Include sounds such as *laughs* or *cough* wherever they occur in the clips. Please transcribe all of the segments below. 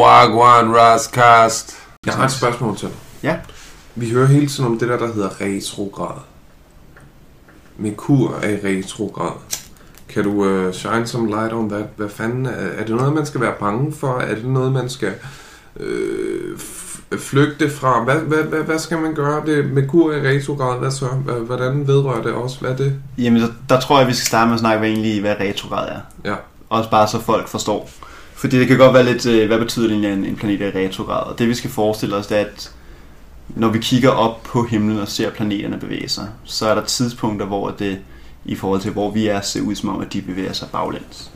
Wagwan Rascast. Jeg har et spørgsmål til dig. Ja. Vi hører hele tiden om det der, der hedder retrograd. Merkur er i retrograd. Kan du uh, shine some light on that? Hvad fanden? Er, er det noget, man skal være bange for? Er det noget, man skal øh, f- flygte fra? Hvad, hvad, hvad, hvad skal man gøre? Det, Merkur er i retrograd. Hvad så? Hva- Hvordan vedrører det også? Hvad er det? Jamen, der, der tror jeg, vi skal starte med at snakke hvad egentlig, hvad retrograd er. Ja. Også bare så folk forstår. Fordi det kan godt være lidt, øh, hvad betyder det egentlig, at en- en planet er i retrograd? Og det vi skal forestille os, det er, at når vi kigger op på himlen og ser planeterne bevæge sig, så er der tidspunkter, hvor det i forhold til, hvor vi er, ser ud som om, at de bevæger sig baglæns.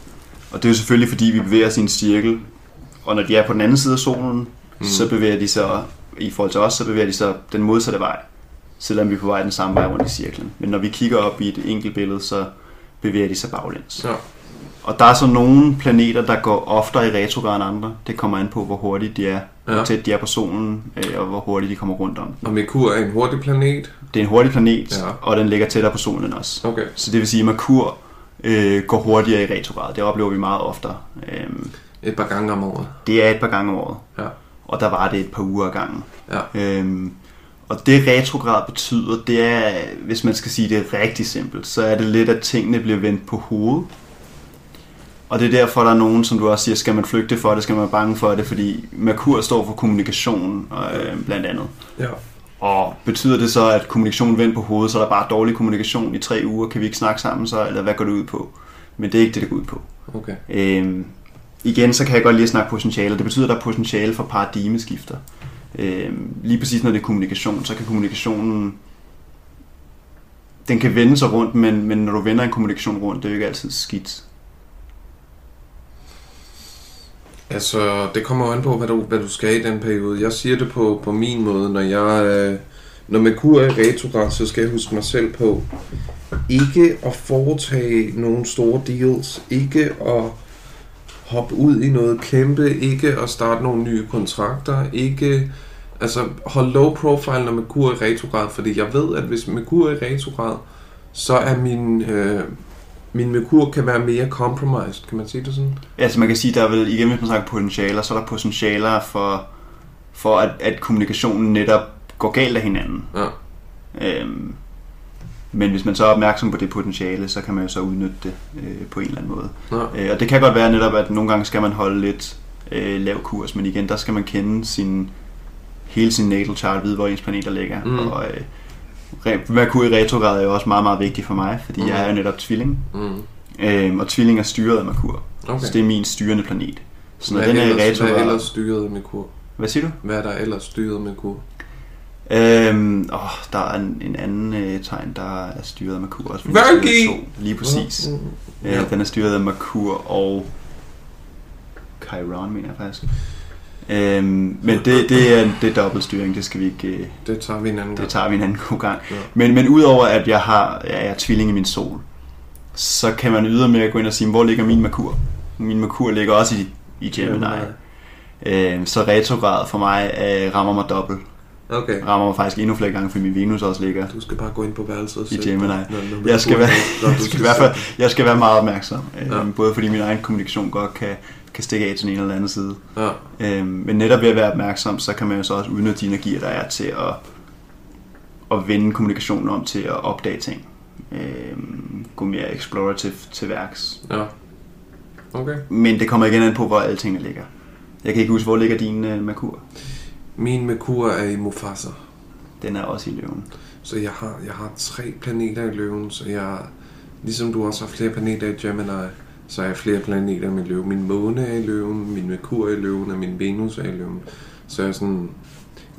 Og det er jo selvfølgelig, fordi vi bevæger os i en cirkel, og når de er på den anden side af solen, mm. så bevæger de sig, i forhold til os, så bevæger de sig den modsatte vej, selvom vi er på vej den samme vej rundt i cirklen. Men når vi kigger op i et enkelt billede, så bevæger de sig baglæns. Ja. Og der er så nogle planeter, der går oftere i retrograd end andre. Det kommer an på, hvor hurtigt de er, ja. Ja. hvor tæt de er på solen, øh, og hvor hurtigt de kommer rundt om den. Og Merkur er en hurtig planet. Det er en hurtig planet, Ja. ja. og den ligger tættere på solen end os. Okay. Så det vil sige, at Merkur øh, går hurtigere i retrograd. Det oplever vi meget oftere. Øhm, Et par gange om året. det er et par gange om året, Ja. og der var det et par uger ad gangen. Ja. Øhm, og det retrograd betyder, det er, hvis man skal sige det rigtig simpelt, så er det lidt, at tingene bliver vendt på hovedet. Og det er derfor, der er nogen, som du også siger, skal man flygte for det, skal man være bange for det, fordi Merkur står for kommunikation, øh, blandt andet. Ja. Og betyder det så, at kommunikationen vendt på hovedet, så er der bare dårlig kommunikation i tre uger, kan vi ikke snakke sammen så, eller hvad går det ud på? Men det er ikke det, det går ud på. Okay. Øhm, igen, så kan jeg godt lige snakke potentiale. Det betyder, at der er potentiale for paradigmeskifter. Øhm, lige præcis når det er kommunikation, så kan kommunikationen... Den kan vende sig rundt, men, men når du vender en kommunikation rundt, det er jo ikke altid skidt. Altså, det kommer jo an på, hvad du, hvad du skal i den periode. Jeg siger det på, på min måde. Når jeg øh, når Merkur er i retrograd, så skal jeg huske mig selv på ikke at foretage nogle store deals. Ikke at hoppe ud i noget kæmpe. Ikke at starte nogle nye kontrakter. Ikke... Altså, hold low profile, når Merkur er i retrograd. Fordi jeg ved, at hvis Merkur er i retrograd, så er min... Øh, min Merkur kan være mere compromised. Kan man sige det sådan? Altså man kan sige, der er vel, igen hvis man snakker potentialer, så er der potentialer for, for at, at kommunikationen netop går galt af hinanden. Ja. Øhm, men hvis man så er opmærksom på det potentiale, så kan man jo så udnytte det øh, på en eller anden måde. Nå. Øh, og det kan godt være netop, at nogle gange skal man holde lidt øh, lav kurs, men igen, der skal man kende sin, hele sin natal chart, vide, hvor ens planeter ligger. Mm. Mm. Og øh, re- Merkur i retrograd er jo også meget, meget vigtig for mig, fordi Mm. mm. jeg er jo netop tvilling, Mm. øh, og tvilling er styret af Merkur. Okay. Okay. Så det er min styrende planet. Så når Hvad den er i ellers, Hvad er retrograd... ellers styret med kur? Hvad siger du? Hvad er der ellers styret med kur? Øhm, åh, der er en, en anden øh, tegn, der er styret af Merkur også. fordi den Virgo! styrer to. Lige præcis. Mm. Øh, Ja. Den er styret af Merkur og Chiron, mener jeg faktisk. Øhm, men det, det, er, det er dobbeltstyring, det skal vi ikke... Øh, Det tager vi en anden det gang. tager vi en anden god gang. Ja. Men, men udover at jeg, har, jeg er tvilling i min sol, så kan man ydermere gå ind og sige, hvor ligger min Merkur? Min Merkur ligger også i, i Gemini. Gemini. Øhm, så retrograd for mig øh, rammer mig dobbelt. Okay. Rammer mig faktisk endnu flere gange, fordi min Venus også ligger Du skal bare gå ind på værelset og i sætte Gemini. dig, når- når Merkur Jeg skal, er være, der. Når *laughs* *laughs* jeg, du skal i hvert fald, sætte jeg skal være meget opmærksom. Øhm, Ja. Både fordi min egen kommunikation godt kan, kan stikke af til den ene eller anden side. dig. Ja. Øhm, men netop ved at være opmærksom, så kan man jo så også udnytte de energier, der er til at, at vende kommunikationen om til at opdage ting. Øhm, gå mere explorative til værks. ja. Okay. Men det kommer igen an på, hvor alle tingene ligger. Jeg kan ikke huske, hvor ligger din øh, Merkur? Min med kur er i Mufasa. Den er også i løven. Så jeg har, jeg har tre planeter i løven, så jeg... Ligesom du også har flere planeter i Gemini, så har jeg flere planeter i min løve. Min måne er i løven, min Merkur er i løven, og min Venus er i løven. Så jeg er sådan...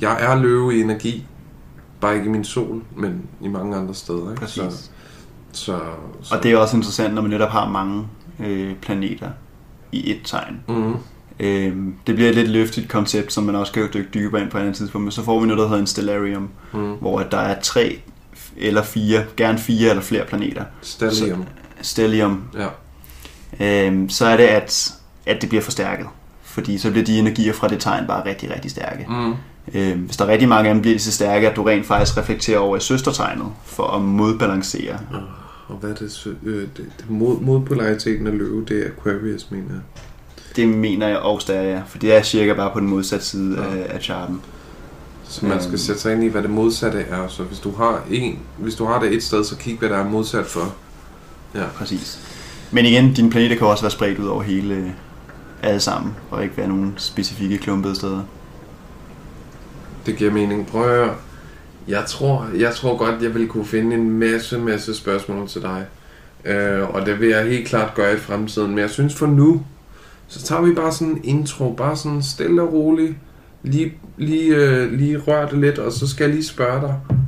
Jeg er løve i energi, bare ikke i min sol, men i mange andre steder. Ikke? Så, Præcis. så, så, Og det er også interessant, når man netop har mange øh, planeter i et tegn. mm, Øhm, det bliver et lidt løftigt koncept, som man også kan dykke dybere ind på et andet tidspunkt, men så får vi noget, der hedder en stellarium, mm. hvor at der er tre eller fire, gerne fire eller flere planeter. Stallium. Stellium. Ja. Øhm, så er det, at, at det bliver forstærket. Fordi så bliver de energier fra det tegn bare rigtig, rigtig stærke. Mm. Øhm, hvis der er rigtig mange af dem, bliver de så stærke, at du rent faktisk reflekterer over i søstertegnet, for at modbalancere. Og hvad er det, så- øh, det, det mod, modpolariteten af løve, det er Aquarius, mener jeg. Det mener jeg også, der er jeg, for det er cirka bare på den modsatte side ja. af, af charten. Så man skal sætte sig ind i, hvad det modsatte er. Så hvis du har, en, hvis du har det et sted, så kig, hvad der er modsat for. Ja. Præcis. Men igen, dine planeter kan også være spredt ud over hele alle sammen, og ikke være nogen specifikke klumpede steder. Det giver mening. Prøv at høre. Jeg tror, jeg tror godt, jeg vil kunne finde en masse, masse spørgsmål til dig. Øh, og det vil jeg helt klart gøre i fremtiden. Men jeg synes for nu, så tager vi bare sådan en intro, bare sådan stille og roligt. Lige, lige, øh, lige rør det lidt, og så skal jeg lige spørge dig,